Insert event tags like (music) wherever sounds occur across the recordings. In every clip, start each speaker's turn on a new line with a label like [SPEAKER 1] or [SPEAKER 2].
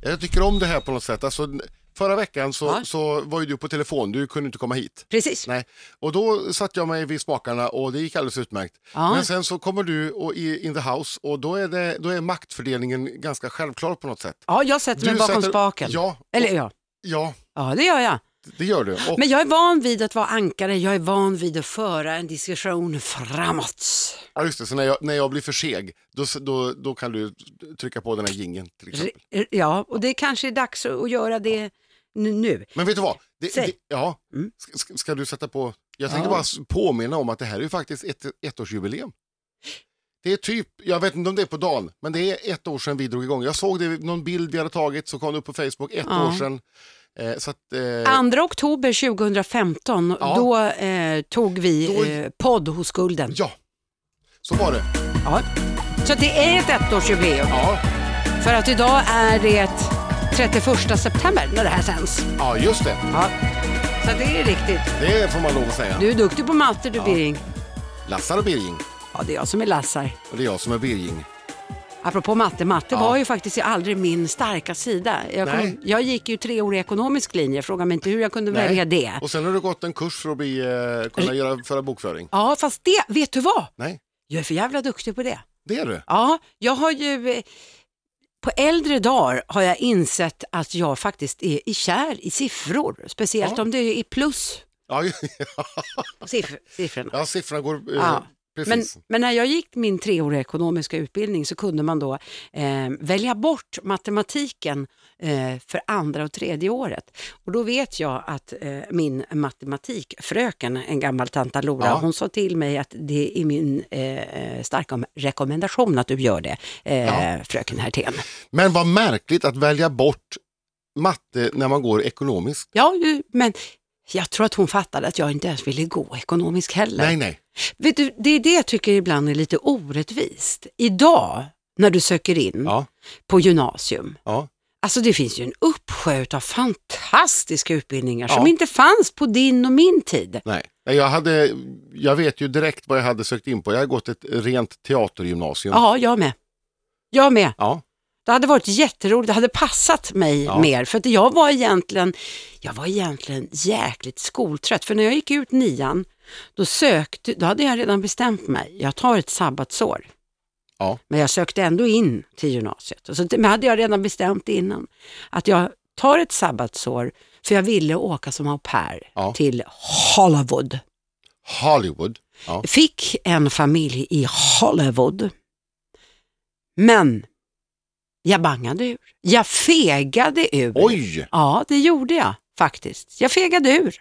[SPEAKER 1] Jag tycker om det här på något sätt. Alltså, förra veckan så,
[SPEAKER 2] Ja.
[SPEAKER 1] så var ju du på telefon, du kunde inte komma hit.
[SPEAKER 2] Precis.
[SPEAKER 1] Nej. Och då satte jag mig vid smakarna och det gick alldeles utmärkt.
[SPEAKER 2] Ja.
[SPEAKER 1] Men sen så kommer du och i, in the house och då är, det, då är maktfördelningen ganska självklar på något sätt.
[SPEAKER 2] Ja, jag sätter
[SPEAKER 1] Du
[SPEAKER 2] mig bakom
[SPEAKER 1] sätter-
[SPEAKER 2] spaken.
[SPEAKER 1] Ja.
[SPEAKER 2] Eller ja.
[SPEAKER 1] Ja,
[SPEAKER 2] ja, det gör jag.
[SPEAKER 1] det gör du. Och,
[SPEAKER 2] Men jag är van vid att vara ankare, jag är van vid att föra en diskussion framåt.
[SPEAKER 1] ja, just det, så när jag, när jag blir för seg, då, s- då, då kan du trycka på den här jingeln till exempel.
[SPEAKER 2] R- Ja, och det kanske är dags att att göra det n- nu.
[SPEAKER 1] Men vet du vad? Det,
[SPEAKER 2] Säg.
[SPEAKER 1] det, ja.
[SPEAKER 2] Mm.
[SPEAKER 1] ska, ska- ska du sätta på... Jag tänkte
[SPEAKER 2] Ja.
[SPEAKER 1] bara s- påminna om att det här är ju faktiskt ett ettårsjubileum. Det är typ, jag vet inte om det är på dagen, men det är ett år sedan vi drog igång. Jag såg det, någon bild vi hade tagit, så kom det upp på Facebook, ett
[SPEAKER 2] Ja.
[SPEAKER 1] år sedan. Eh, så att, eh,
[SPEAKER 2] 2 oktober 2015,
[SPEAKER 1] Ja.
[SPEAKER 2] då eh, tog vi
[SPEAKER 1] Då-
[SPEAKER 2] eh, podd hos Gulden.
[SPEAKER 1] ja, så var det.
[SPEAKER 2] Ja. Så att det är ett ettårsjubileum,
[SPEAKER 1] Ja,
[SPEAKER 2] för att idag är det 31 september när det här sänds.
[SPEAKER 1] ja just det.
[SPEAKER 2] Ja. Så att det är riktigt.
[SPEAKER 1] Det får man lov att säga.
[SPEAKER 2] Du är duktig på matte du Birging.
[SPEAKER 1] Lassar och Birging,
[SPEAKER 2] Ja, det är jag som är Lassar.
[SPEAKER 1] och det är jag som är Birging.
[SPEAKER 2] Apropå matte, matte
[SPEAKER 1] Ja.
[SPEAKER 2] var ju faktiskt aldrig min starka sida. Jag,
[SPEAKER 1] Nej.
[SPEAKER 2] kom, jag gick ju treårig ekonomisk linje, fråga mig inte hur jag kunde
[SPEAKER 1] Nej.
[SPEAKER 2] välja det.
[SPEAKER 1] Och sen har du gått en kurs för att bli, eh, kunna göra, föra bokföring.
[SPEAKER 2] Ja, fast det, vet du vad?
[SPEAKER 1] Nej,
[SPEAKER 2] Jag är för jävla duktig på det.
[SPEAKER 1] det är du.
[SPEAKER 2] Ja, jag har ju, eh, på äldre dagar har jag insett att jag faktiskt är i kär i siffror, speciellt
[SPEAKER 1] Ja.
[SPEAKER 2] om det är plus
[SPEAKER 1] Ja,
[SPEAKER 2] siff- siffrorna.
[SPEAKER 1] ja siffrorna går... Eh,
[SPEAKER 2] Ja. Men,
[SPEAKER 1] Precis.
[SPEAKER 2] men när jag gick min treåriga ekonomiska utbildning så kunde man då eh, välja bort matematiken eh, för andra och tredje året. Och då vet jag att eh, min matematikfröken, en gammal tanta Lora,
[SPEAKER 1] Ja.
[SPEAKER 2] hon sa till mig att det är min eh, starka rekommendation att du gör det, eh,
[SPEAKER 1] Ja.
[SPEAKER 2] fröken Hertén.
[SPEAKER 1] Men vad märkligt att välja bort matte när man går ekonomiskt.
[SPEAKER 2] Ja, ju, men jag tror att hon fattade att jag inte ens ville gå ekonomisk heller.
[SPEAKER 1] Nej, nej.
[SPEAKER 2] Vet du, det är det jag tycker ibland är lite orättvist. Idag när du söker in
[SPEAKER 1] Ja,
[SPEAKER 2] på gymnasium,
[SPEAKER 1] ja.
[SPEAKER 2] alltså det finns ju en uppsjö av fantastiska utbildningar
[SPEAKER 1] Ja.
[SPEAKER 2] som inte fanns på din och min tid.
[SPEAKER 1] Nej. Nej, Jag, hade, jag vet ju direkt vad jag hade sökt in på. Jag hade gått ett rent teatergymnasium.
[SPEAKER 2] Ja, jag med. Jag med.
[SPEAKER 1] Ja,
[SPEAKER 2] Det hade varit jätteroligt, det hade passat mig
[SPEAKER 1] Ja.
[SPEAKER 2] mer. För att jag var, egentligen, jag var egentligen jäkligt skoltrött. För när jag gick ut nian, då, sökte, då hade jag redan bestämt mig. Jag tar ett sabbatsår.
[SPEAKER 1] Ja.
[SPEAKER 2] Men jag sökte ändå in till gymnasiet. Och Så, men hade jag redan bestämt innan att jag tar ett sabbatsår, för jag ville åka som au pair
[SPEAKER 1] Ja.
[SPEAKER 2] till Hollywood.
[SPEAKER 1] Hollywood. Ja.
[SPEAKER 2] Fick en familj i Hollywood. Men jag bangade ur. Jag fegade ur.
[SPEAKER 1] Oj!
[SPEAKER 2] Ja, det gjorde jag faktiskt. Jag fegade ur.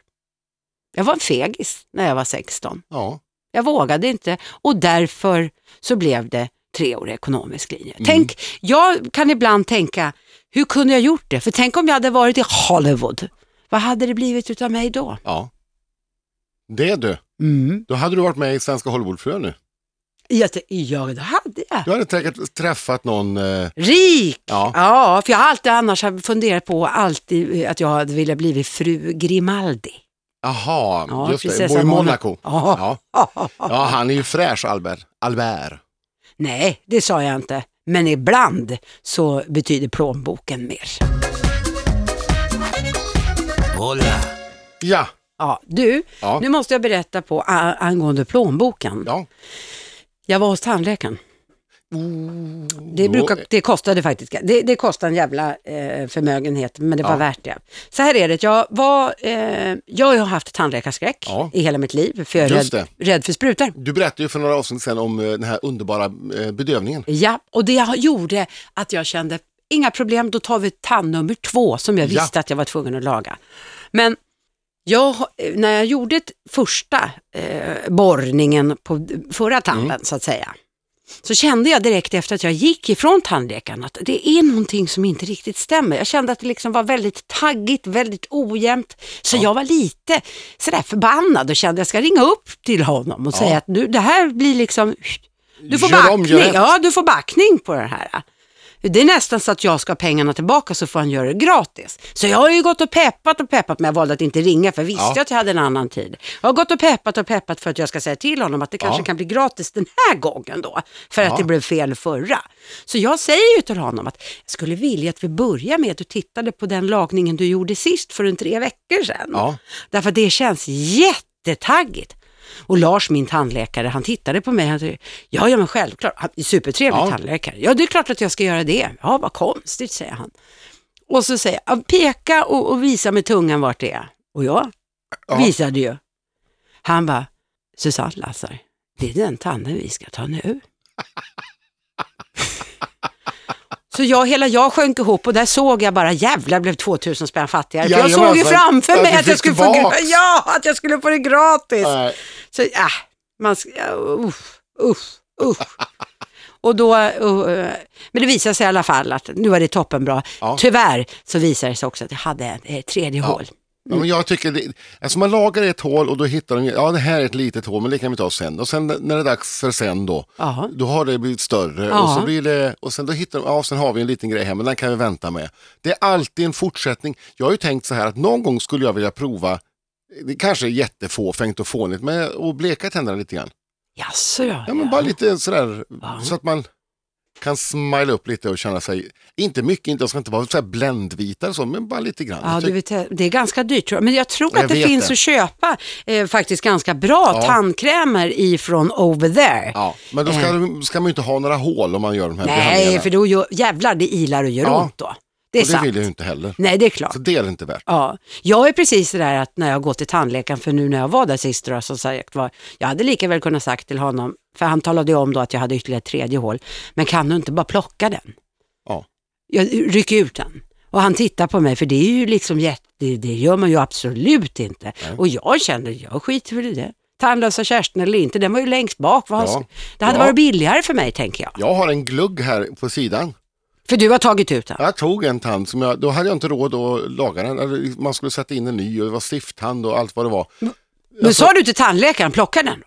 [SPEAKER 2] Jag var en fegis när jag var 16.
[SPEAKER 1] Ja.
[SPEAKER 2] Jag vågade inte och därför så blev det treårig ekonomisk linje. Tänk, jag kan ibland tänka, hur kunde jag gjort det? För tänk om jag hade varit i Hollywood. Vad hade det blivit utav mig då?
[SPEAKER 1] ja. Det du.
[SPEAKER 2] Mm.
[SPEAKER 1] Då hade du varit med i Svenska Hollywoodfrön nu.
[SPEAKER 2] Jag, t- ja, det hade jag.
[SPEAKER 1] Du hade säkert träffat någon... Eh,
[SPEAKER 2] Rik!
[SPEAKER 1] Ja.
[SPEAKER 2] Ja. för jag har alltid annars har funderat på alltid eh, att jag hade velat bli fru
[SPEAKER 1] (laughs)
[SPEAKER 2] Grimaldi.
[SPEAKER 1] aha,
[SPEAKER 2] Ja,
[SPEAKER 1] just det.
[SPEAKER 2] prinsessan
[SPEAKER 1] Bor i
[SPEAKER 2] Mona-
[SPEAKER 1] Monaco.
[SPEAKER 2] Ja.
[SPEAKER 1] Ja. ja, han är ju fräsch Albert. Albert.
[SPEAKER 2] Nej, det sa jag inte. Men ibland så betyder plånboken mer.
[SPEAKER 1] Ja,
[SPEAKER 2] Ja, du,
[SPEAKER 1] Ja.
[SPEAKER 2] nu måste jag berätta på a- angående plånboken.
[SPEAKER 1] ja.
[SPEAKER 2] Jag var hos tandläkaren. Det,
[SPEAKER 1] Då-
[SPEAKER 2] brukar, det kostade faktiskt, det, det kostade en jävla eh, förmögenhet, men det var
[SPEAKER 1] Ja.
[SPEAKER 2] värt det. Så här är det, jag, var, eh, jag har ju haft tandläkarskräck
[SPEAKER 1] Ja.
[SPEAKER 2] i hela mitt liv, för jag är
[SPEAKER 1] Just
[SPEAKER 2] rädd, rädd för sprutor.
[SPEAKER 1] Du berättade ju för några avsnitt sedan om eh, den här underbara eh, bedövningen.
[SPEAKER 2] Ja, och det gjorde att jag kände, inga problem, då tar vi tand nummer två som jag
[SPEAKER 1] Ja.
[SPEAKER 2] visste att jag var tvungen att laga. Men jag, har- när jag gjorde ett första eh, borrningen på d- förra tanden så att säga, så kände jag direkt efter att jag gick ifrån tandläkaren att det är någonting som inte riktigt stämmer. Jag kände att det liksom var väldigt taggigt, väldigt ojämnt. Så jag var lite sådär förbannad och kände att jag ska ringa upp till honom och
[SPEAKER 1] Ja.
[SPEAKER 2] säga att nu, det här blir liksom, du får
[SPEAKER 1] Gör om,
[SPEAKER 2] backning.
[SPEAKER 1] gör rätt.
[SPEAKER 2] ja, du får backning på det här. Det är nästan så att jag ska ha pengarna tillbaka så får han göra det gratis. Så jag har ju gått och peppat och peppat men jag valde att inte ringa för jag visste
[SPEAKER 1] Ja.
[SPEAKER 2] att jag hade en annan tid. Jag har gått och peppat och peppat för att jag ska säga till honom att det kanske
[SPEAKER 1] Ja.
[SPEAKER 2] kan bli gratis den här gången då. För att
[SPEAKER 1] Ja.
[SPEAKER 2] det blev fel förra. Så jag säger ju till honom att jag skulle vilja att vi börjar med att du tittade på den lagningen du gjorde sist för en tre veckor sedan.
[SPEAKER 1] Ja.
[SPEAKER 2] Därför att det känns jättetaggigt. Och Lars, min tandläkare, han tittade på mig. Han tyckte, ja, ja, men självklart. Han är supertrevlig
[SPEAKER 1] Ja.
[SPEAKER 2] tandläkare. Ja, det är klart att jag ska göra det. Ja, vad konstigt, säger han. Och så säger han, peka och, och visa med tungan vart det är. Och jag
[SPEAKER 1] Ja.
[SPEAKER 2] visade ju. Han bara, Susanne Lassar, det är den tanden vi ska
[SPEAKER 1] (laughs)
[SPEAKER 2] ta nu. Så jag, hela jag sjönk ihop och där såg jag bara jävlar blev 2000 spänn fattigare. För jag
[SPEAKER 1] Jajamensan.
[SPEAKER 2] såg ju framför
[SPEAKER 1] Ja,
[SPEAKER 2] mig
[SPEAKER 1] du
[SPEAKER 2] att jag,
[SPEAKER 1] fick
[SPEAKER 2] skulle få, gra-
[SPEAKER 1] tillbaks.
[SPEAKER 2] ja, att jag skulle få det gratis.
[SPEAKER 1] Nej.
[SPEAKER 2] Så äh, man ska, ja, usch, usch, usch. Och då, uh, uh, men det visade sig i alla fall att nu var det toppenbra.
[SPEAKER 1] Ja.
[SPEAKER 2] Tyvärr så visade det sig också att jag hade ett, ett tredje hål.
[SPEAKER 1] Ja, men jag tycker det, alltså man lagar ett hål och då hittar de, ja det här är ett litet hål men det kan vi ta sen. Och sen när det är dags för sen då,
[SPEAKER 2] Ja.
[SPEAKER 1] då har det blivit större
[SPEAKER 2] Ja.
[SPEAKER 1] och så blir det, och sen då hittar de, ja sen har vi en liten grej här men den kan vi vänta med. Det är alltid en fortsättning. Jag har ju tänkt så här att någon gång skulle jag vilja prova, eh, det kanske är jättefåfängt och fånigt, men att bleka tänderna lite grann.
[SPEAKER 2] Jaså ja.
[SPEAKER 1] Ja men bara lite sådär,
[SPEAKER 2] Ja.
[SPEAKER 1] så att man kan smila upp lite och känna sig, inte mycket, inte, jag ska inte vara så här bländvita eller så, men bara lite grann.
[SPEAKER 2] Ja,
[SPEAKER 1] Jag
[SPEAKER 2] du
[SPEAKER 1] tycker-
[SPEAKER 2] vet, det är ganska dyrt tror jag. Men jag tror
[SPEAKER 1] Jag
[SPEAKER 2] att det
[SPEAKER 1] vet
[SPEAKER 2] finns
[SPEAKER 1] det.
[SPEAKER 2] att köpa eh, faktiskt ganska bra
[SPEAKER 1] Ja.
[SPEAKER 2] tandkrämer ifrån over there.
[SPEAKER 1] Ja, men då ska, ska man ju inte ha några hål om man gör de här
[SPEAKER 2] Eh. Nej,
[SPEAKER 1] behandlingarna.
[SPEAKER 2] för då gör, jävlar det ilar och gör
[SPEAKER 1] Ja.
[SPEAKER 2] ont då. Det är
[SPEAKER 1] Och det
[SPEAKER 2] sant.
[SPEAKER 1] vill jag ju inte heller.
[SPEAKER 2] Nej, det är klart.
[SPEAKER 1] Så det är det inte värt.
[SPEAKER 2] Ja, jag är precis det där att när jag går till tandläkaren, för nu när jag var där sist då, som sagt var, jag hade lika väl kunnat sagt till honom, för han talade ju om då att jag hade ytterligare ett tredje hål, men kan du inte bara plocka den?
[SPEAKER 1] Ja.
[SPEAKER 2] Jag rycker ut den. Och han tittar på mig, för det är ju liksom jätte, det- det gör man ju absolut inte. Och jag känner, jag skiter väl i det. Tandlösa Kerstin eller inte, den var ju längst bak. Vad har-
[SPEAKER 1] Ja.
[SPEAKER 2] Det hade
[SPEAKER 1] Ja.
[SPEAKER 2] varit billigare för mig, tänker jag.
[SPEAKER 1] Jag har en glugg här på sidan.
[SPEAKER 2] För du har tagit ut den.
[SPEAKER 1] Jag tog en tand som jag, då hade jag inte råd att laga den. Eller Man skulle sätta in en ny och det var stifttand och allt vad det var.
[SPEAKER 2] Men sa du till tandläkaren, plocka den? då?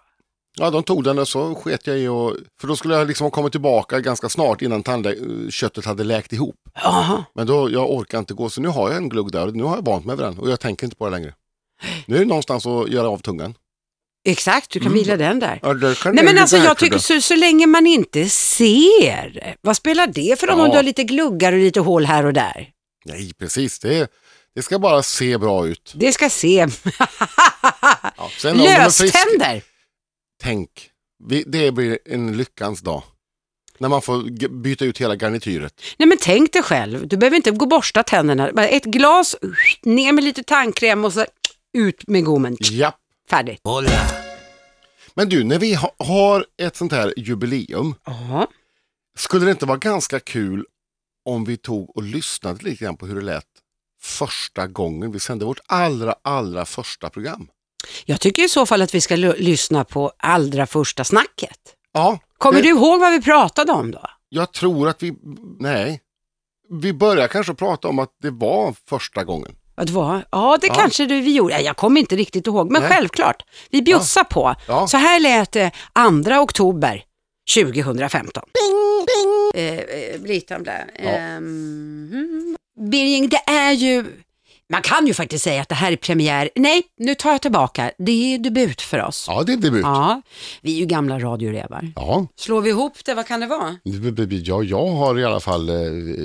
[SPEAKER 1] Ja, de tog den och så sket jag i och, för då skulle jag liksom ha kommit tillbaka ganska snart innan tandköttet hade läkt ihop.
[SPEAKER 2] Jaha.
[SPEAKER 1] Men då, jag orkar inte gå så nu har jag en glugg där och nu har jag vant mig vid den och jag tänker inte på det längre. Nu är det någonstans att göra av tungan.
[SPEAKER 2] Exakt, du kan
[SPEAKER 1] Mm.
[SPEAKER 2] vila den där.
[SPEAKER 1] Ja, där kan
[SPEAKER 2] Nej
[SPEAKER 1] det
[SPEAKER 2] men
[SPEAKER 1] ju
[SPEAKER 2] alltså jag
[SPEAKER 1] verka
[SPEAKER 2] tycker
[SPEAKER 1] då.
[SPEAKER 2] så, så länge man inte ser, vad spelar det för roll om
[SPEAKER 1] Ja.
[SPEAKER 2] du har lite gluggar och lite hål här och där?
[SPEAKER 1] Nej, precis. Det, det ska bara se bra ut.
[SPEAKER 2] Det ska se.
[SPEAKER 1] Ja, sen om de är friska-
[SPEAKER 2] Löständer.
[SPEAKER 1] Tänk, vi, det blir en lyckans dag. När man får g- byta ut hela garnityret.
[SPEAKER 2] Nej men tänk dig själv, du behöver inte gå och borsta tänderna. Bara ett glas, ner med lite tandkräm och så ut med gommen.
[SPEAKER 1] Japp.
[SPEAKER 2] Färdigt.
[SPEAKER 1] Men du, när vi ha, har ett sånt här jubileum,
[SPEAKER 2] Ja.
[SPEAKER 1] skulle det inte vara ganska kul om vi tog och lyssnade lite grann på hur det lät första gången vi sände vårt allra, allra första program?
[SPEAKER 2] Jag tycker i så fall att vi ska l- lyssna på allra första snacket.
[SPEAKER 1] Ja,
[SPEAKER 2] Kommer
[SPEAKER 1] det-
[SPEAKER 2] du ihåg vad vi pratade om då?
[SPEAKER 1] jag tror att vi, nej, vi börjar kanske prata om att det var första gången.
[SPEAKER 2] Att vara, ja, det
[SPEAKER 1] Ja.
[SPEAKER 2] kanske det vi gjorde. Ja, Jag kommer inte riktigt ihåg, men
[SPEAKER 1] Nej.
[SPEAKER 2] självklart. Vi bjussar på.
[SPEAKER 1] Ja.
[SPEAKER 2] Så här lät det 2 oktober 2015. Bing, bing. Eh, eh, Britan där. Ehm, mm. Birging, det är ju... Man kan ju faktiskt säga att det här är premiär. Nej, nu tar jag tillbaka. Det är debut för oss. Ja.
[SPEAKER 1] Ja, det är debut.
[SPEAKER 2] vi är ju gamla radiorävar.
[SPEAKER 1] Ja.
[SPEAKER 2] Slår vi ihop det, vad kan det vara?
[SPEAKER 1] Ja, jag har i alla fall, eh,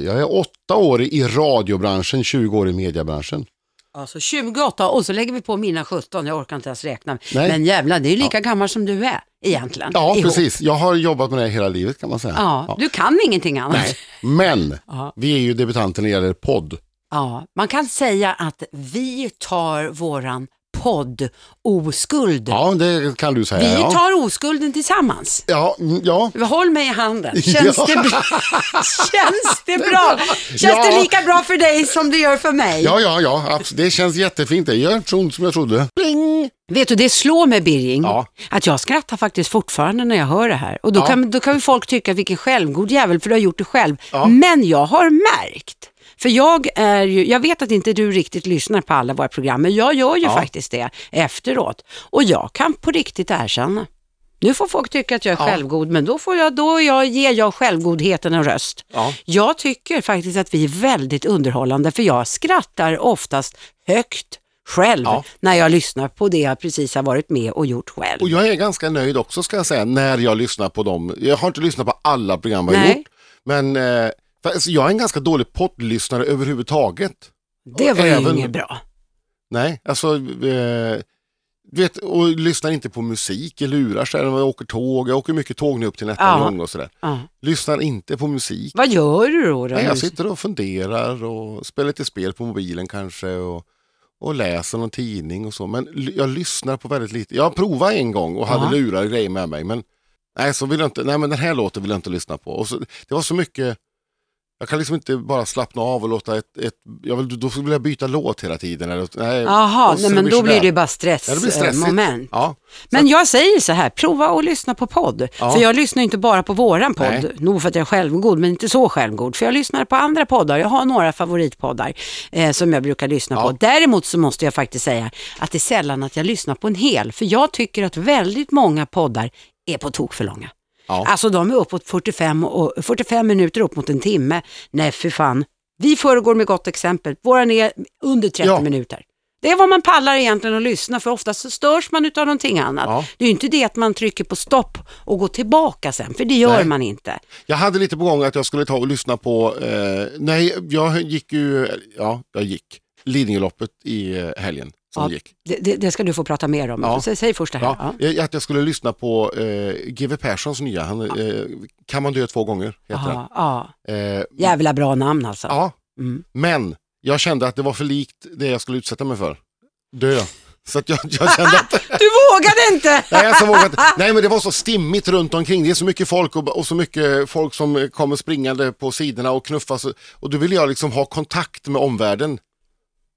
[SPEAKER 1] jag är åtta år i radiobranschen, 20 år i mediebranschen.
[SPEAKER 2] Alltså 28 och så lägger vi på mina 17, jag orkar inte ens räkna.
[SPEAKER 1] Nej.
[SPEAKER 2] Men jävlar, det är ju lika gammal som du är egentligen.
[SPEAKER 1] Ja,
[SPEAKER 2] Ihop.
[SPEAKER 1] precis. Jag har jobbat med det hela livet kan man säga.
[SPEAKER 2] Ja, Du kan ingenting annat.
[SPEAKER 1] Nej. Men,
[SPEAKER 2] Ja.
[SPEAKER 1] vi är ju debutanter när det gäller podd.
[SPEAKER 2] Ja, man kan säga att vi tar våran podd oskuld.
[SPEAKER 1] Ja, det kan du säga.
[SPEAKER 2] vi
[SPEAKER 1] ja.
[SPEAKER 2] tar oskulden tillsammans.
[SPEAKER 1] Ja, mm, ja.
[SPEAKER 2] Håll mig i handen.
[SPEAKER 1] (laughs)
[SPEAKER 2] Känns,
[SPEAKER 1] Ja.
[SPEAKER 2] det, bra? (laughs) Känns det bra? Känns
[SPEAKER 1] Ja.
[SPEAKER 2] det lika bra för dig som det gör för mig?
[SPEAKER 1] Ja, ja, ja, abs- det känns jättefint. Det gör inte så ont som jag trodde. Pling!
[SPEAKER 2] Vet du, det slår mig Birging,
[SPEAKER 1] Ja.
[SPEAKER 2] att jag skrattar faktiskt fortfarande när jag hör det här. Och då,
[SPEAKER 1] Ja.
[SPEAKER 2] kan, då kan ju folk tycka, vilken självgod jävel, för du har gjort det själv.
[SPEAKER 1] Ja.
[SPEAKER 2] Men jag har märkt, för jag är ju, jag vet att inte du riktigt lyssnar på alla våra program, men jag gör ju
[SPEAKER 1] Ja.
[SPEAKER 2] faktiskt det efteråt. Och jag kan på riktigt erkänna, Nu får folk tycka att jag är
[SPEAKER 1] Ja.
[SPEAKER 2] självgod, men då, får jag, då jag, ger jag självgodheten en röst.
[SPEAKER 1] Ja.
[SPEAKER 2] Jag tycker faktiskt att vi är väldigt underhållande, för jag skrattar oftast högt själv
[SPEAKER 1] Ja.
[SPEAKER 2] när jag lyssnar på det jag precis har varit med och gjort själv.
[SPEAKER 1] Och jag är ganska nöjd också ska jag säga när jag lyssnar på dem. Jag har inte lyssnat på alla program jag har
[SPEAKER 2] Nej.
[SPEAKER 1] gjort. Men eh, fast jag är en ganska dålig poddlyssnare överhuvudtaget.
[SPEAKER 2] det
[SPEAKER 1] och
[SPEAKER 2] var ju
[SPEAKER 1] även-
[SPEAKER 2] inget bra.
[SPEAKER 1] Nej, alltså eh, du vet, och lyssnar inte på musik i lurar sig när jag åker tåg. Jag åker mycket tåg nu upp till
[SPEAKER 2] Ja.
[SPEAKER 1] Nättalång och sådär.
[SPEAKER 2] Ja.
[SPEAKER 1] Lyssnar inte på musik.
[SPEAKER 2] Vad gör du då? då?
[SPEAKER 1] Nej, jag sitter och funderar och spelar lite spel på mobilen kanske och, och läser någon tidning och så. Men l- jag lyssnar på väldigt lite. Jag provade en gång och hade
[SPEAKER 2] Ja.
[SPEAKER 1] lurar och grejer med mig. Men nej, så vill jag inte, nej, men den här låten vill jag inte lyssna på. Och så, det var så mycket, jag kan liksom inte bara slappna av och låta ett, ett jag vill, då vill jag byta låt hela tiden. Eller, nej,
[SPEAKER 2] Jaha,
[SPEAKER 1] och så
[SPEAKER 2] nej, men då
[SPEAKER 1] sådär.
[SPEAKER 2] blir det ju bara eh,
[SPEAKER 1] Ja, det blir stressigt.
[SPEAKER 2] stressmoment.
[SPEAKER 1] Ja,
[SPEAKER 2] Men jag säger så här, prova att lyssna på podd.
[SPEAKER 1] Ja.
[SPEAKER 2] För jag lyssnar inte bara på våran podd,
[SPEAKER 1] Nej.
[SPEAKER 2] nog för att jag är självgod, men inte så självgod. För jag lyssnar på andra poddar, jag har några favoritpoddar eh, som jag brukar lyssna
[SPEAKER 1] Ja.
[SPEAKER 2] på. Däremot så måste jag faktiskt säga att det är sällan att jag lyssnar på en hel, för jag tycker att väldigt många poddar är på tok för långa.
[SPEAKER 1] ja.
[SPEAKER 2] Alltså de är uppåt 45, och, 45 minuter upp mot en timme. Nej, för fan. Vi föregår med gott exempel. Våran är under 30
[SPEAKER 1] Ja.
[SPEAKER 2] minuter. Det är vad man pallar egentligen att lyssna för oftast så störs man utav någonting annat.
[SPEAKER 1] Ja.
[SPEAKER 2] Det är ju inte det att man trycker på stopp och går tillbaka sen, för det gör
[SPEAKER 1] Nej.
[SPEAKER 2] man inte.
[SPEAKER 1] Jag hade lite på gång att jag skulle ta och lyssna på, eh, nej jag gick ju, ja jag gick, Lidingöloppet i eh, helgen som
[SPEAKER 2] Ja,
[SPEAKER 1] gick.
[SPEAKER 2] Det, det, det ska du få prata mer om.
[SPEAKER 1] Ja.
[SPEAKER 2] Säg, säg först det här.
[SPEAKER 1] Ja,
[SPEAKER 2] Ja.
[SPEAKER 1] jag- Att jag skulle lyssna på eh, GW Perssons nya, han, eh, Kan man dö två gånger heter den.
[SPEAKER 2] Ja. Ja.
[SPEAKER 1] Eh,
[SPEAKER 2] Jävla bra namn alltså.
[SPEAKER 1] ja,
[SPEAKER 2] Mm.
[SPEAKER 1] men jag kände att det var för likt det jag skulle utsätta mig för. Dö. Så att jag, jag kände att
[SPEAKER 2] Du vågade inte!
[SPEAKER 1] (laughs) Nej, alltså, vågat, nej men det var så stimmigt runt omkring. Det är så mycket folk och, och så mycket folk som kommer springande på sidorna och knuffas. Och då ville jag liksom ha kontakt med omvärlden.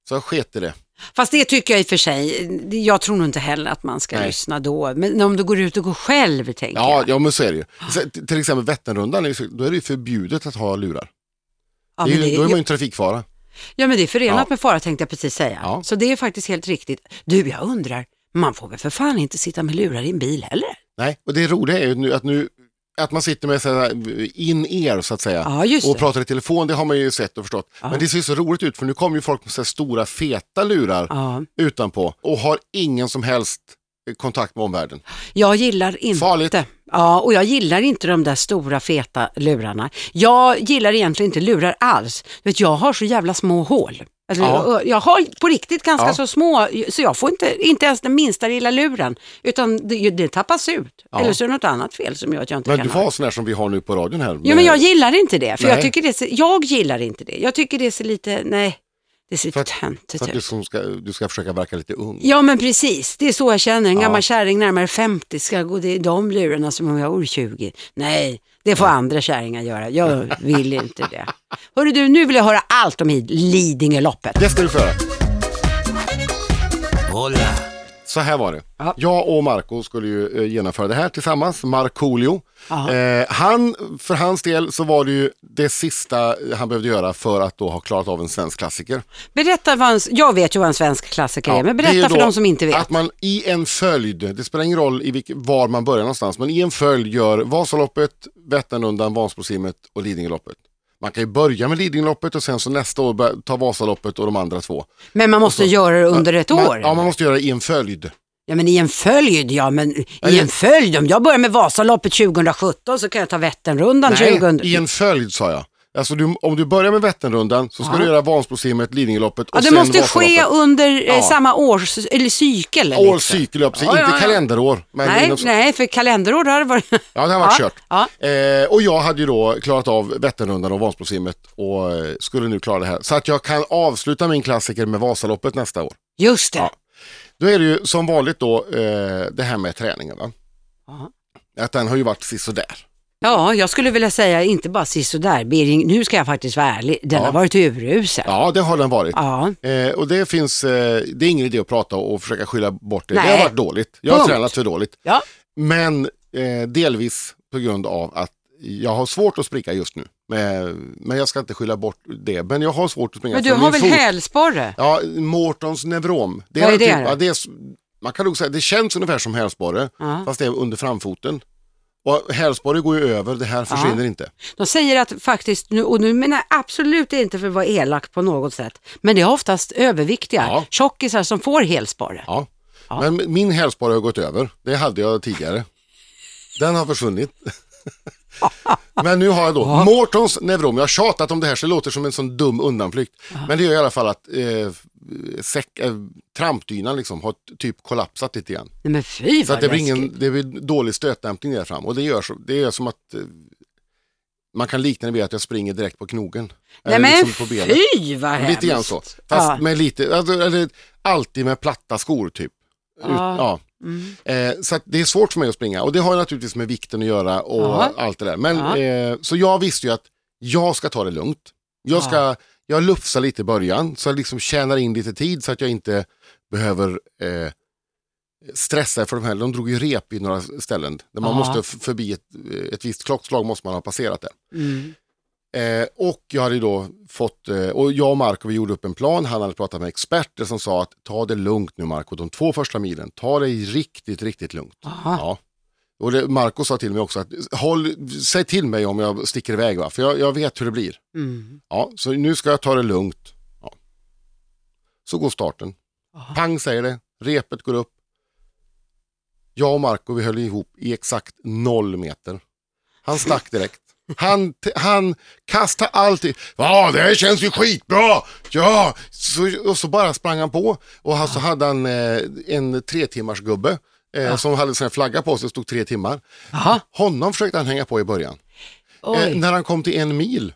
[SPEAKER 1] Så jag sket i det.
[SPEAKER 2] Fast det tycker jag i och för sig, jag tror nog inte heller att man ska
[SPEAKER 1] Nej.
[SPEAKER 2] lyssna då. Men om du går ut och går själv tänker jag.
[SPEAKER 1] Ja, ja men så är det ju. Så, t- till exempel Vätternrundan, är ju så- då är det ju förbjudet att ha lurar.
[SPEAKER 2] Ja,
[SPEAKER 1] det är
[SPEAKER 2] men
[SPEAKER 1] ju,
[SPEAKER 2] det,
[SPEAKER 1] då är man ju en trafikfara.
[SPEAKER 2] ja, men det är förenat
[SPEAKER 1] Ja.
[SPEAKER 2] med fara tänkte jag precis säga.
[SPEAKER 1] Ja.
[SPEAKER 2] Så det är faktiskt helt riktigt. Du, jag undrar, man får väl för fan inte sitta med lurar i en bil heller?
[SPEAKER 1] Nej, och det roliga är ju nu att, nu, att man sitter med sådana här in-ear så att säga.
[SPEAKER 2] Ja, just
[SPEAKER 1] och
[SPEAKER 2] det.
[SPEAKER 1] pratar i telefon, det har man ju sett och förstått. Men det ser ju så roligt ut för nu kommer ju folk med så här stora feta lurar.
[SPEAKER 2] Ja.
[SPEAKER 1] utanpå och har ingen som helst eh, kontakt med omvärlden.
[SPEAKER 2] Jag gillar inte...
[SPEAKER 1] Farligt.
[SPEAKER 2] Ja, och jag gillar inte de där stora feta lurarna. Jag gillar egentligen inte lurar alls. Du Vet, jag har så jävla små hål. Alltså,
[SPEAKER 1] Ja.
[SPEAKER 2] jag, jag har på riktigt ganska
[SPEAKER 1] Ja.
[SPEAKER 2] så små, så jag får inte, inte ens den minsta lilla luren, utan det, det tappas ut.
[SPEAKER 1] Ja.
[SPEAKER 2] Eller så är det något annat fel som gör att jag inte
[SPEAKER 1] Men
[SPEAKER 2] kan
[SPEAKER 1] du
[SPEAKER 2] ha
[SPEAKER 1] får ha sån här som vi har nu på radion här. Eh,
[SPEAKER 2] Jo men jag gillar inte det, för jag,
[SPEAKER 1] Nej.
[SPEAKER 2] tycker det ser, jag gillar inte det. Jag tycker det ser lite, nej, det ser
[SPEAKER 1] För
[SPEAKER 2] lite
[SPEAKER 1] att-
[SPEAKER 2] töntigt
[SPEAKER 1] För att du,
[SPEAKER 2] ut.
[SPEAKER 1] som ska, du ska försöka verka lite ung.
[SPEAKER 2] Ja men precis, det är så jag känner. En
[SPEAKER 1] Ja.
[SPEAKER 2] gammal kärring närmare 50 ska gå till de lurarna som om jag vore 20. Nej, det får andra kärringar
[SPEAKER 1] (laughs)
[SPEAKER 2] göra. Jag vill inte det. Hörru du, nu vill jag höra allt om Id- Lidingöloppet.
[SPEAKER 1] Det ska du få göra.
[SPEAKER 3] Hola.
[SPEAKER 1] Så här var det.
[SPEAKER 2] Ja.
[SPEAKER 1] Jag och Marco skulle ju eh, genomföra det här tillsammans, Markoolio. Eh, han, för hans del så var det ju det sista han behövde göra för att då ha klarat av en svensk klassiker.
[SPEAKER 2] Berätta vad en, jag vet ju vad en svensk klassiker är,
[SPEAKER 1] Ja,
[SPEAKER 2] men
[SPEAKER 1] det är ju
[SPEAKER 2] berätta för
[SPEAKER 1] då
[SPEAKER 2] de som inte vet.
[SPEAKER 1] Att man i en följd, det spelar ingen roll i vilk, var man börjar någonstans, men i en följd gör Vasaloppet, Vätternrundan, Vansbrosimmet och Lidingöloppet. Man kan ju börja med Lidingöloppet och sen så nästa år bör- ta Vasaloppet och de andra två.
[SPEAKER 2] men man måste
[SPEAKER 1] och så-
[SPEAKER 2] göra det under ett
[SPEAKER 1] man,
[SPEAKER 2] år.
[SPEAKER 1] Ja, man måste göra det i en följd.
[SPEAKER 2] Ja men i en följd ja, men i
[SPEAKER 1] Eller-
[SPEAKER 2] en följd. Om jag börjar med Vasaloppet 2017 så kan jag ta Vätternrundan
[SPEAKER 1] Nej,
[SPEAKER 2] 2000.
[SPEAKER 1] i en följd sa jag. Alltså du, om du börjar med Vätternrundan så ska
[SPEAKER 2] Ja.
[SPEAKER 1] du göra Vansbrosimmet, Lidingöloppet och
[SPEAKER 2] Ja, det
[SPEAKER 1] sen
[SPEAKER 2] måste
[SPEAKER 1] Vasaloppet.
[SPEAKER 2] ske under eh,
[SPEAKER 1] Ja.
[SPEAKER 2] samma års, eller cykel. eller
[SPEAKER 1] År,
[SPEAKER 2] liksom.
[SPEAKER 1] cykel, ja, precis.
[SPEAKER 2] Ja,
[SPEAKER 1] inte
[SPEAKER 2] ja, ja.
[SPEAKER 1] kalenderår. Men
[SPEAKER 2] Nej,
[SPEAKER 1] inom-
[SPEAKER 2] nej, för kalenderår har det varit...
[SPEAKER 1] Ja, det har varit
[SPEAKER 2] Ja,
[SPEAKER 1] kört.
[SPEAKER 2] ja.
[SPEAKER 1] Eh, och jag hade ju då klarat av Vätternrundan och Vansbrosimmet och eh, skulle nu klara det här. Så att jag kan avsluta min klassiker med Vasaloppet nästa år.
[SPEAKER 2] Just det.
[SPEAKER 1] Ja. Då är det ju som vanligt då eh, det här med träningen. Va?
[SPEAKER 2] Ja.
[SPEAKER 1] Att den har ju varit sisådär.
[SPEAKER 2] Ja, jag skulle vilja säga inte bara sisådär, Birging, nu ska jag faktiskt vara ärlig, den
[SPEAKER 1] Ja.
[SPEAKER 2] har varit urusel.
[SPEAKER 1] Ja, det har den varit.
[SPEAKER 2] Ja.
[SPEAKER 1] Eh, och det finns, eh, det är ingen idé att prata och försöka skylla bort det. Det
[SPEAKER 2] Nej.
[SPEAKER 1] har varit dåligt. Jag har
[SPEAKER 2] Punkt.
[SPEAKER 1] tränat för dåligt.
[SPEAKER 2] Ja.
[SPEAKER 1] Men eh, delvis på grund av att jag har svårt att spricka just nu. Men, men jag ska inte skylla bort det. Men jag har svårt att springa.
[SPEAKER 2] Men du
[SPEAKER 1] för
[SPEAKER 2] har
[SPEAKER 1] min
[SPEAKER 2] väl
[SPEAKER 1] fot-
[SPEAKER 2] hälsporre?
[SPEAKER 1] Ja, Mårtons neurom. Det
[SPEAKER 2] Vad
[SPEAKER 1] väl
[SPEAKER 2] är det
[SPEAKER 1] Typ,
[SPEAKER 2] då?
[SPEAKER 1] ja, det är s- Man kan nog säga det känns ungefär som hälsporre
[SPEAKER 2] Ja.
[SPEAKER 1] fast det är under framfoten. Och hälsporre går ju över, det här försvinner inte.
[SPEAKER 2] De säger att faktiskt, nu, och nu menar jag absolut inte för att vara elak på något sätt, men det är oftast överviktiga
[SPEAKER 1] Ja.
[SPEAKER 2] tjockisar som får helsporre.
[SPEAKER 1] Ja. Men min hälsporre har gått över, det hade jag tidigare. Den har
[SPEAKER 2] (laughs)
[SPEAKER 1] försvunnit. Men nu har jag då Mårtons neurom. Jag har tjatat om det här så det låter som en sån dum undanflykt. Men det gör i alla fall att eh, säck, eh, trampdynan liksom har t- typ kollapsat lite grann.
[SPEAKER 2] Nej men fy
[SPEAKER 1] Så
[SPEAKER 2] vad
[SPEAKER 1] att det, blir
[SPEAKER 2] läskigt.
[SPEAKER 1] ingen, det blir dålig stötdämpning där fram och det gör, så, det gör som att eh, man kan likna det vid att jag springer direkt på knogen.
[SPEAKER 2] Nej
[SPEAKER 1] Eller
[SPEAKER 2] men
[SPEAKER 1] liksom på benet.
[SPEAKER 2] fy vad hemskt.
[SPEAKER 1] Lite grann så. Fast
[SPEAKER 2] ja.
[SPEAKER 1] med lite, alltså, eller, alltid med platta skor typ. Ut,
[SPEAKER 2] Ja.
[SPEAKER 1] ja.
[SPEAKER 2] Mm.
[SPEAKER 1] Eh, så att det är svårt för mig att springa och det har ju naturligtvis med vikten att göra och
[SPEAKER 2] Ja.
[SPEAKER 1] allt det där. Men,
[SPEAKER 2] Ja.
[SPEAKER 1] eh, så jag visste ju att jag ska ta det lugnt. Jag, ska, jag lufsar lite i början så jag liksom tjänar in lite tid så att jag inte behöver eh, stressa för de här. De drog ju rep i några ställen där man
[SPEAKER 2] Ja.
[SPEAKER 1] måste f- förbi ett, eh, ett visst klockslag måste man ha passerat det.
[SPEAKER 2] Mm.
[SPEAKER 1] Eh, och jag hade ju då fått, eh, och jag och Marco vi gjorde upp en plan, han hade pratat med experter som sa att ta det lugnt nu Marco, de två första milen, ta det riktigt, riktigt lugnt.
[SPEAKER 2] Aha.
[SPEAKER 1] Ja. Och det, Marco sa till mig också att håll, säg till mig om jag sticker iväg va, för jag, jag vet hur det blir.
[SPEAKER 2] Mm.
[SPEAKER 1] Ja, så nu ska jag ta det lugnt. Ja. Så går starten.
[SPEAKER 2] Aha.
[SPEAKER 1] Pang säger det, repet går upp. Jag och Marco vi höll ihop i exakt noll meter. Han stack direkt. Han, t- han kastar alltid. Ja, det här känns ju skitbra! Ja! Så, och så bara sprang han på. Och han, så hade han eh, en tre timmars gubbe eh, som hade en flagga på sig, stod tre timmar.
[SPEAKER 2] Jaha,
[SPEAKER 1] Honom försökte han hänga på i början.
[SPEAKER 2] oj.
[SPEAKER 1] Eh, när han kom till en mil,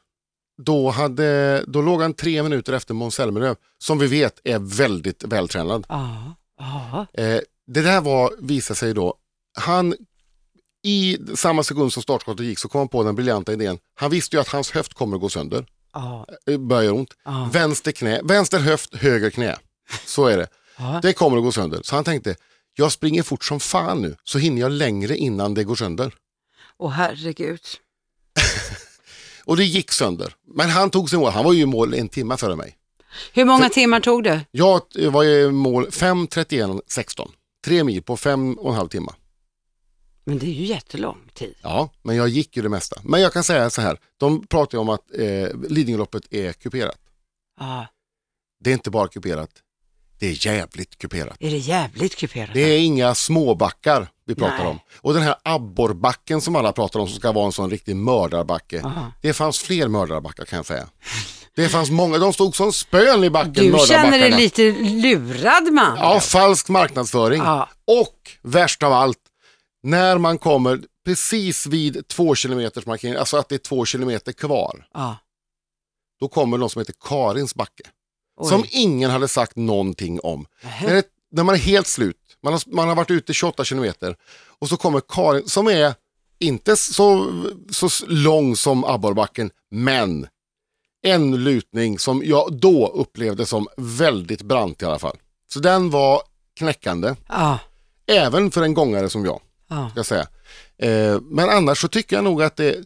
[SPEAKER 1] då, hade, då låg han tre minuter efter Måns Zelmerlöw, som vi vet är väldigt vältränad.
[SPEAKER 2] Ja, ja.
[SPEAKER 1] Eh, det där var, visade sig då, han i samma sekund som startskottet gick så kom han på den briljanta idén. Han visste ju att hans höft kommer att gå sönder,
[SPEAKER 2] ja,
[SPEAKER 1] eh, börjar göra ont.
[SPEAKER 2] ja,
[SPEAKER 1] Vänster knä, vänster höft, höger knä. Så är det.
[SPEAKER 2] ja.
[SPEAKER 1] Det kommer att gå sönder. Så han tänkte, jag springer fort som fan nu, så hinner jag längre innan det går sönder.
[SPEAKER 2] Åh herregud.
[SPEAKER 1] Och det gick sönder. Men han tog sin mål, han var ju i mål en timme före mig.
[SPEAKER 2] Hur många timmar tog det?
[SPEAKER 1] Jag eh, var i mål 5.31.16. Tre mil på fem och en halv timme.
[SPEAKER 2] Men det är ju jättelång tid.
[SPEAKER 1] Ja, men jag gick ju det mesta. Men jag kan säga så här, de pratar ju om att eh, Lidingöloppet är kuperat.
[SPEAKER 2] Ja.
[SPEAKER 1] Det är inte bara kuperat, det är jävligt kuperat.
[SPEAKER 2] Är det jävligt kuperat?
[SPEAKER 1] Det är inga småbackar vi pratar
[SPEAKER 2] Nej.
[SPEAKER 1] om. Och den här abborrbacken som alla pratar om som ska vara en sån riktig mördarbacke.
[SPEAKER 2] Aha.
[SPEAKER 1] Det fanns fler mördarbackar kan jag säga. Det fanns många, de stod som spön i backen
[SPEAKER 2] Du känner dig
[SPEAKER 1] mördarbackarna.
[SPEAKER 2] lite lurad man.
[SPEAKER 1] Ja, falsk marknadsföring.
[SPEAKER 2] Ja.
[SPEAKER 1] Och värst av allt, när man kommer precis vid två kilometers markering, alltså att det är två kilometer kvar,
[SPEAKER 2] Ja,
[SPEAKER 1] då kommer någon som heter Karins backe.
[SPEAKER 2] oj.
[SPEAKER 1] Som ingen hade sagt någonting om.
[SPEAKER 2] Nähä.
[SPEAKER 1] När, det, när man är helt slut, man har, man har varit ute 28 kilometer och så kommer Karin som är inte så, så lång som abborrbacken, men en lutning som jag då upplevde som väldigt brant i alla fall. Så den var knäckande,
[SPEAKER 2] Ja,
[SPEAKER 1] även för en gångare som jag
[SPEAKER 2] ja.
[SPEAKER 1] ska jag säga. Eh, men annars så tycker jag nog att det,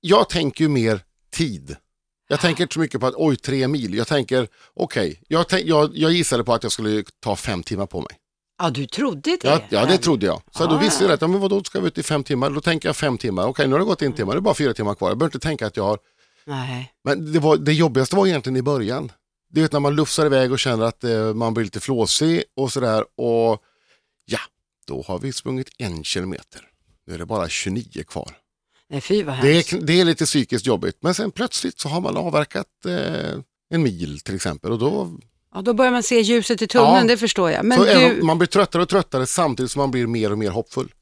[SPEAKER 1] jag tänker ju mer tid. Jag tänker inte så mycket på att oj, tre mil. Jag tänker, okej, jag, tänk, jag, jag gissade på att jag skulle ta fem timmar på mig.
[SPEAKER 2] ja, du trodde det?
[SPEAKER 1] Ja, ja det trodde jag. Så då
[SPEAKER 2] Ah.
[SPEAKER 1] visste jag att, ja, men vadå, ska vi ut i fem timmar? Då tänker jag fem timmar. Okej, nu har det gått en timme, det är bara fyra timmar kvar. Jag behöver inte tänka att jag har,
[SPEAKER 2] Nej.
[SPEAKER 1] men det, var, det jobbigaste var egentligen i början. Du vet när man lufsar iväg och känner att eh, man blir lite flåsig och sådär. Och ja, då har vi sprungit en kilometer. Nu är det bara 29 kvar.
[SPEAKER 2] Nej, fy vad
[SPEAKER 1] Det är,
[SPEAKER 2] hemskt.
[SPEAKER 1] kn- det är lite psykiskt jobbigt, men sen plötsligt så har man avverkat eh, en mil till exempel. Och då,
[SPEAKER 2] Ja, då börjar man se ljuset i tunneln,
[SPEAKER 1] Ja.
[SPEAKER 2] det förstår jag. Men
[SPEAKER 1] så
[SPEAKER 2] du,
[SPEAKER 1] även, man blir tröttare och tröttare samtidigt som man blir mer och mer hoppfull.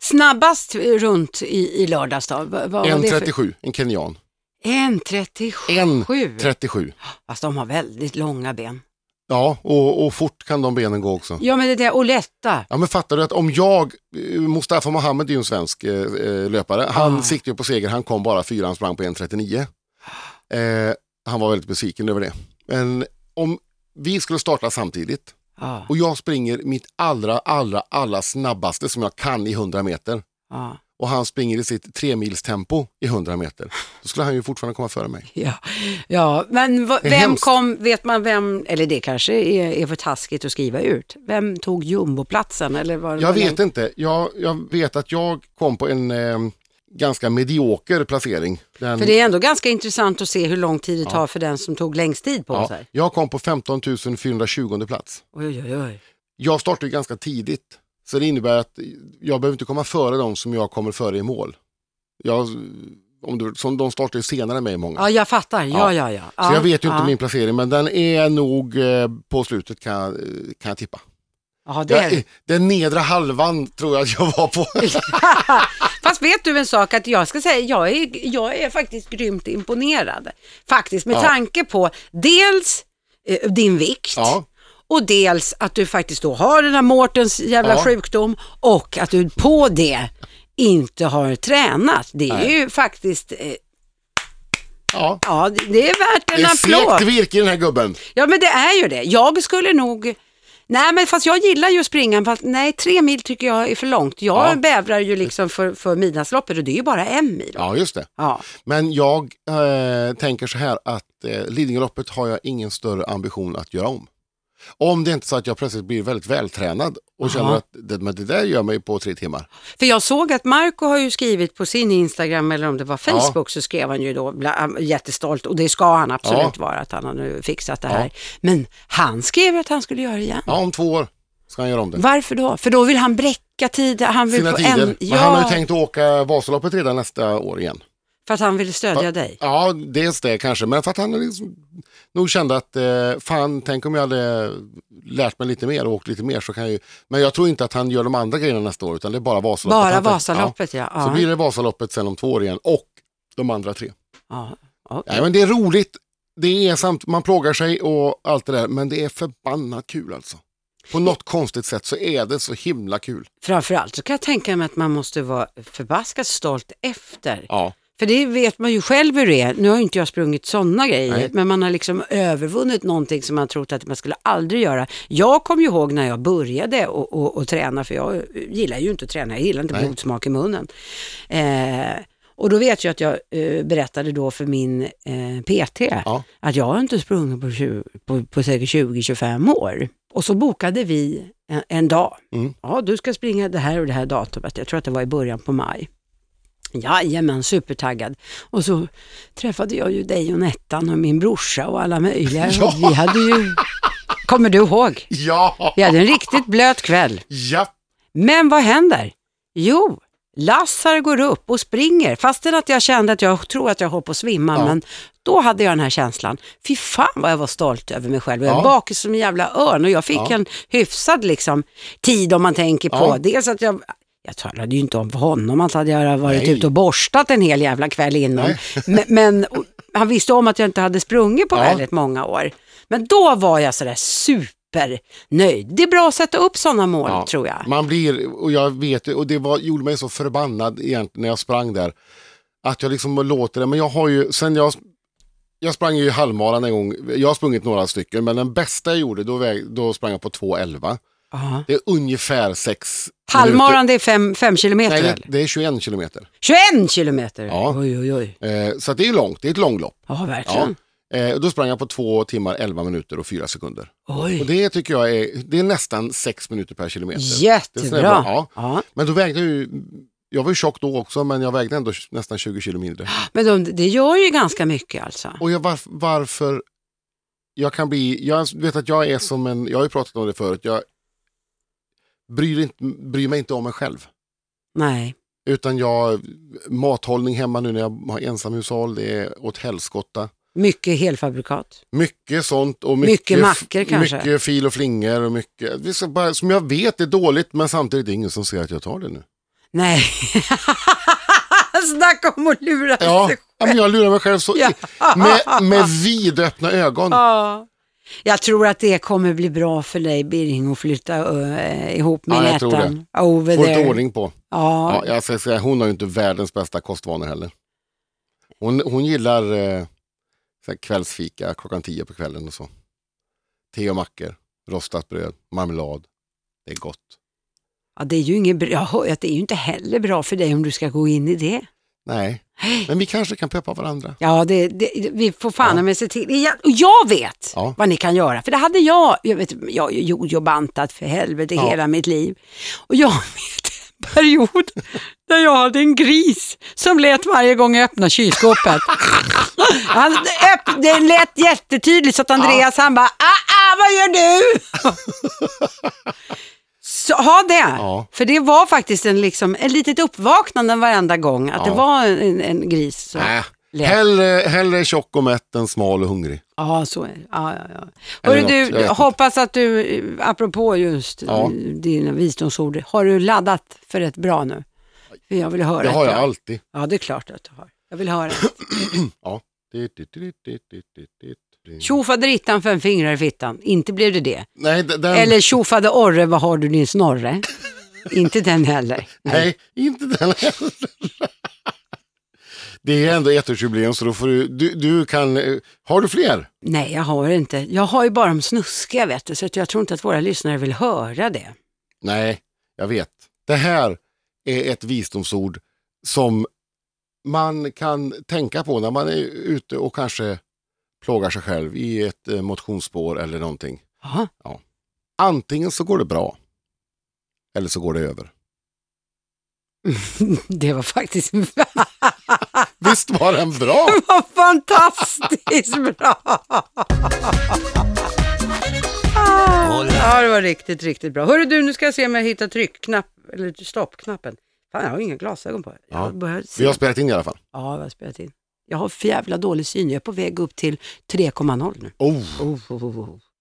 [SPEAKER 2] snabbast runt i, i lördags då? Vad, vad var
[SPEAKER 1] En
[SPEAKER 2] det för-
[SPEAKER 1] 37, en kenyan.
[SPEAKER 2] 1.37.
[SPEAKER 1] En
[SPEAKER 2] Sju.
[SPEAKER 1] 37.
[SPEAKER 2] Fast de har väldigt långa ben.
[SPEAKER 1] Ja, och, och fort kan de benen gå också.
[SPEAKER 2] Ja, men det där, och lätta.
[SPEAKER 1] Ja men fattar du att om jag, eh, Mustafa Mohamed är ju en svensk eh, eh, löpare, han
[SPEAKER 2] Ah.
[SPEAKER 1] siktade ju på seger, han kom bara fyra, han sprang på 1.39. Eh, han var väldigt besviken över det. Men om vi skulle starta samtidigt,
[SPEAKER 2] Ja,
[SPEAKER 1] och jag springer mitt allra, allra, allra snabbaste som jag kan i 100 meter.
[SPEAKER 2] ja.
[SPEAKER 1] och han springer i sitt tremilstempo i 100 meter, då skulle han ju fortfarande komma före mig.
[SPEAKER 2] Ja, ja. men v-
[SPEAKER 1] är
[SPEAKER 2] vem
[SPEAKER 1] hemskt.
[SPEAKER 2] kom, vet man vem, eller det kanske är, är för taskigt att skriva ut. Vem tog jumboplatsen eller var det
[SPEAKER 1] Jag
[SPEAKER 2] någon-
[SPEAKER 1] vet inte, jag, jag vet att jag kom på en eh, ganska medioker placering. Den,
[SPEAKER 2] För det är ändå ganska intressant att se hur lång tid det tar för den som tog längst tid på
[SPEAKER 1] ja,
[SPEAKER 2] sig.
[SPEAKER 1] jag kom på 15 420 plats.
[SPEAKER 2] Oj, oj, oj.
[SPEAKER 1] Jag startar ju ganska tidigt. Så det innebär att jag behöver inte komma före de som jag kommer före i mål. Jag, om du, som de startar ju senare än mig många.
[SPEAKER 2] Ja, jag fattar. Ja, ja, ja. ja.
[SPEAKER 1] så jag vet ju
[SPEAKER 2] ja.
[SPEAKER 1] inte min placering men den är nog eh, på slutet kan jag, kan jag tippa.
[SPEAKER 2] Ja, det är...
[SPEAKER 1] Jag, den nedre halvan tror jag att jag var
[SPEAKER 2] (laughs)
[SPEAKER 1] på.
[SPEAKER 2] Fast vet du en sak, att jag ska säga, jag är, jag är faktiskt grymt imponerad. Faktiskt, med
[SPEAKER 1] Ja.
[SPEAKER 2] tanke på dels eh, din vikt
[SPEAKER 1] Ja.
[SPEAKER 2] och dels att du faktiskt då har den här Mårtens jävla
[SPEAKER 1] Ja.
[SPEAKER 2] sjukdom och att du på det inte har tränat. Det är ju faktiskt, eh,
[SPEAKER 1] Ja.
[SPEAKER 2] ja det är värt en
[SPEAKER 1] Det är
[SPEAKER 2] applåd.
[SPEAKER 1] segt virke i den här gubben.
[SPEAKER 2] Ja men det är ju det. Jag skulle nog, nej men fast jag gillar ju att springa, fast nej tre mil tycker jag är för långt. Jag
[SPEAKER 1] Ja.
[SPEAKER 2] bävrar ju liksom för, för midnattsloppet och det är ju bara en mil.
[SPEAKER 1] Ja just det.
[SPEAKER 2] Ja.
[SPEAKER 1] Men jag eh, tänker så här att eh, Lidingöloppet har jag ingen större ambition att göra om. Om det inte är så att jag plötsligt blir väldigt vältränad och känner att det, men det där gör mig på tre timmar.
[SPEAKER 2] För jag såg att Marco har ju skrivit på sin Instagram eller om det var Facebook så skrev han ju då bla- äh, jättestolt och det ska han absolut
[SPEAKER 1] Ja.
[SPEAKER 2] vara att han har nu fixat det här. Men han skrev att han skulle göra det igen.
[SPEAKER 1] Ja, om två år ska han göra om det.
[SPEAKER 2] Varför då? För då vill han bräcka tider. Han vill
[SPEAKER 1] Sina
[SPEAKER 2] på
[SPEAKER 1] tider.
[SPEAKER 2] En,
[SPEAKER 1] Men han har
[SPEAKER 2] ja,
[SPEAKER 1] ju tänkt åka Vasaloppet redan nästa år igen.
[SPEAKER 2] för att han vill stödja dig.
[SPEAKER 1] Ja, dels det kanske, men för att han liksom, nog kände att eh, fan, tänk om jag hade lärt mig lite mer och åkt lite mer så kan jag ju, men jag tror inte att han gör de andra grejerna nästa år utan det är bara Vasaloppet.
[SPEAKER 2] Bara
[SPEAKER 1] Han tänker-
[SPEAKER 2] Vasaloppet ja.
[SPEAKER 1] Ja. Så
[SPEAKER 2] ja.
[SPEAKER 1] blir det Vasaloppet sen om två år igen och de andra tre.
[SPEAKER 2] ja. okej.
[SPEAKER 1] Nej, men det är roligt, det är samt, man plågar sig och allt det där, men det är förbannat kul alltså. På något konstigt sätt så är det så himla kul.
[SPEAKER 2] Framförallt så kan jag tänka mig att man måste vara förbaskat stolt efter.
[SPEAKER 1] Ja.
[SPEAKER 2] För det vet man ju själv hur det är. Nu har ju inte jag sprungit sådana grejer,
[SPEAKER 1] Nej.
[SPEAKER 2] men man har liksom övervunnit någonting som man trott att man skulle aldrig göra. Jag kommer ju ihåg när jag började och, och, och träna, för jag gillar ju inte att träna, jag gillar inte
[SPEAKER 1] Nej.
[SPEAKER 2] blodsmak i munnen. Eh, och då vet jag att jag eh, berättade då för min eh, PT
[SPEAKER 1] Ja.
[SPEAKER 2] att jag har inte sprungit på, 20, på, på säkert 20-25 år. Och så bokade vi en, en dag.
[SPEAKER 1] Mm.
[SPEAKER 2] Ja, du ska springa det här och det här datumet. Jag tror att det var i början på maj. Jajamän, supertaggad. Och så träffade jag ju dig och Nettan och min brorsa och alla möjliga.
[SPEAKER 1] (laughs) Ja.
[SPEAKER 2] Och Vi hade ju, kommer du ihåg?
[SPEAKER 1] Ja,
[SPEAKER 2] Vi hade en riktigt blöt kväll.
[SPEAKER 1] ja.
[SPEAKER 2] Men vad händer? Jo, Lassar går upp och springer, fastän att jag kände att jag tror att jag höll på att svimma,
[SPEAKER 1] Ja.
[SPEAKER 2] men då hade jag den här känslan. Fy fan vad jag var stolt över mig själv. Jag
[SPEAKER 1] Ja.
[SPEAKER 2] var bakis som en jävla örn och jag fick
[SPEAKER 1] Ja.
[SPEAKER 2] en hyfsad liksom, tid om man tänker på.
[SPEAKER 1] Ja.
[SPEAKER 2] Dels att jag jag talade ju inte om för honom att hade jag varit
[SPEAKER 1] Nej.
[SPEAKER 2] ute och borstat en hel jävla kväll innan.
[SPEAKER 1] Nej.
[SPEAKER 2] (laughs) Men, men och, han visste om att jag inte hade sprungit på
[SPEAKER 1] Ja.
[SPEAKER 2] väldigt många år. Men då var jag sådär supernöjd. Det är bra att sätta upp sådana mål
[SPEAKER 1] Ja,
[SPEAKER 2] tror jag.
[SPEAKER 1] Man blir, och jag vet ju- och det var, gjorde mig så förbannad egentligen när jag sprang där. Att jag liksom låter det, men jag har ju, sen jag, jag sprang ju halvmaran en gång, jag har sprungit några stycken, men den bästa jag gjorde, då, väg, då sprang jag på 2.11.
[SPEAKER 2] Ja.
[SPEAKER 1] Det är ungefär 6
[SPEAKER 2] Halvmaran det är 5 fem kilometer
[SPEAKER 1] Nej, det,
[SPEAKER 2] väl?
[SPEAKER 1] det är 21 kilometer.
[SPEAKER 2] 21 kilometer?
[SPEAKER 1] Ja.
[SPEAKER 2] Oj, oj, oj.
[SPEAKER 1] Eh, så att det är långt, det är ett långlopp.
[SPEAKER 2] Ja,
[SPEAKER 1] Ja.
[SPEAKER 2] verkligen.
[SPEAKER 1] Eh, då sprang jag på 2 timmar, 11 minuter och 4 sekunder. Och
[SPEAKER 2] Oj,
[SPEAKER 1] det tycker jag är, det är nästan 6 minuter per kilometer. Det är sådär
[SPEAKER 2] jättebra.
[SPEAKER 1] bra, ja.
[SPEAKER 2] Ja.
[SPEAKER 1] Men då vägde jag ju, jag var ju tjock då också men jag vägde ändå nästan 20 kilo mindre.
[SPEAKER 2] Men de, det gör ju ganska mycket alltså.
[SPEAKER 1] Och jag, varf, varför, jag kan bli, jag vet att jag är som en, jag har ju pratat om det förut, jag bryr, inte, bryr mig inte om mig själv.
[SPEAKER 2] Nej.
[SPEAKER 1] Utan jag, mathållning hemma nu när jag har ensamhushåll, det är åt helskotta.
[SPEAKER 2] Mycket helfabrikat.
[SPEAKER 1] Mycket sånt och mycket,
[SPEAKER 2] Mycket mackor kanske.
[SPEAKER 1] mycket fil och flingor och mycket, det är så bara, som jag vet är dåligt men samtidigt är det ingen som ser att jag tar det nu.
[SPEAKER 2] Nej. (laughs) Snacka om att lura (laughs)
[SPEAKER 1] Ja,
[SPEAKER 2] sig.
[SPEAKER 1] ja, men jag lurar mig själv så
[SPEAKER 2] Ja.
[SPEAKER 1] (laughs) med, med vidöppna ögon.
[SPEAKER 2] Ja. Jag tror att det kommer bli bra för dig Birging att flytta eh, ihop med
[SPEAKER 1] Ja, jag tror
[SPEAKER 2] Nettan. Over
[SPEAKER 1] Får inte
[SPEAKER 2] there.
[SPEAKER 1] ordning på.
[SPEAKER 2] Ja.
[SPEAKER 1] Ja, jag ska säga, hon har ju inte världens bästa kostvanor heller. Hon, hon gillar eh, så här kvällsfika klockan tio på kvällen och så. Te och mackor, rostat bröd, marmelad. Det är gott.
[SPEAKER 2] Ja, det är ju inget bra, jag hör ju att det är ju inte heller bra för dig om du ska gå in i det.
[SPEAKER 1] Nej,
[SPEAKER 2] Hej.
[SPEAKER 1] men vi kanske kan peppa varandra.
[SPEAKER 2] Ja, det, det, vi får fan ja. se till. Jag, och jag vet
[SPEAKER 1] Ja.
[SPEAKER 2] vad ni kan göra, för det hade jag. Jag, vet, jag har ju jojo-bantat för helvete
[SPEAKER 1] Ja.
[SPEAKER 2] hela mitt liv. Och jag (laughs) vet en period där jag hade en gris som lät varje gång jag
[SPEAKER 1] (laughs)
[SPEAKER 2] öppnade kylskåpet. Han öpp, det lät jättetydligt så att Andreas han bara, ah, ah, vad gör du? Så, ha det,
[SPEAKER 1] Ja.
[SPEAKER 2] för det var faktiskt en, liksom, en litet uppvaknande varenda gång, att
[SPEAKER 1] Ja.
[SPEAKER 2] det var en, en gris. Så.
[SPEAKER 1] Äh.
[SPEAKER 2] Lätt.
[SPEAKER 1] Hellre, hellre tjock och mätt än smal och hungrig.
[SPEAKER 2] Ja, så är det. Ja, ja, ja.
[SPEAKER 1] Eller
[SPEAKER 2] Hörru,
[SPEAKER 1] något, jag
[SPEAKER 2] du,
[SPEAKER 1] vet inte.
[SPEAKER 2] hoppas att du, eh, apropå just
[SPEAKER 1] Ja.
[SPEAKER 2] ja. dina visdomsord, har du laddat för ett bra nu? För jag vill höra
[SPEAKER 1] Det har
[SPEAKER 2] ett
[SPEAKER 1] jag
[SPEAKER 2] bra.
[SPEAKER 1] alltid.
[SPEAKER 2] Ja, det är klart att du har. Jag vill höra.
[SPEAKER 1] Ja. Dit, dit, dit, dit, dit, dit, dit.
[SPEAKER 2] Tjofaderittan för en fingrar i fittan, inte blev det det.
[SPEAKER 1] Nej, d- den,
[SPEAKER 2] Eller tjofade orre, vad har du din snorre? inte den heller.
[SPEAKER 1] nej, inte den heller. Det är ändå ettårsjubileum så då får du, du, du kan, eh, har du fler?
[SPEAKER 2] Nej, jag har inte. Jag har ju bara de snuskiga, vet du, så att jag tror inte att våra lyssnare vill höra det.
[SPEAKER 1] Nej, jag vet. Det här är ett visdomsord som man kan tänka på när man är ute och kanske plågar sig själv i ett eh, motionsspår eller någonting.
[SPEAKER 2] Ja, (laughs)
[SPEAKER 1] Antingen så går det bra eller så går det över.
[SPEAKER 2] det var faktiskt
[SPEAKER 1] Visst var den
[SPEAKER 2] (laughs)
[SPEAKER 1] bra?
[SPEAKER 2] var fantastiskt bra! Ja, det var riktigt, riktigt bra. Hörru du, nu ska jag se om jag hittar tryckknapp, eller stoppknappen. Fan, jag har inga glasögon på.
[SPEAKER 1] Ja,
[SPEAKER 2] Jag börjar se.
[SPEAKER 1] Vi har spelat in i alla fall.
[SPEAKER 2] Ja, jag har spelat in. Jag har för jävla dålig syn. Jag är på väg upp till 3,0 nu.
[SPEAKER 1] Oh,
[SPEAKER 2] Oh, oh, oh, oh.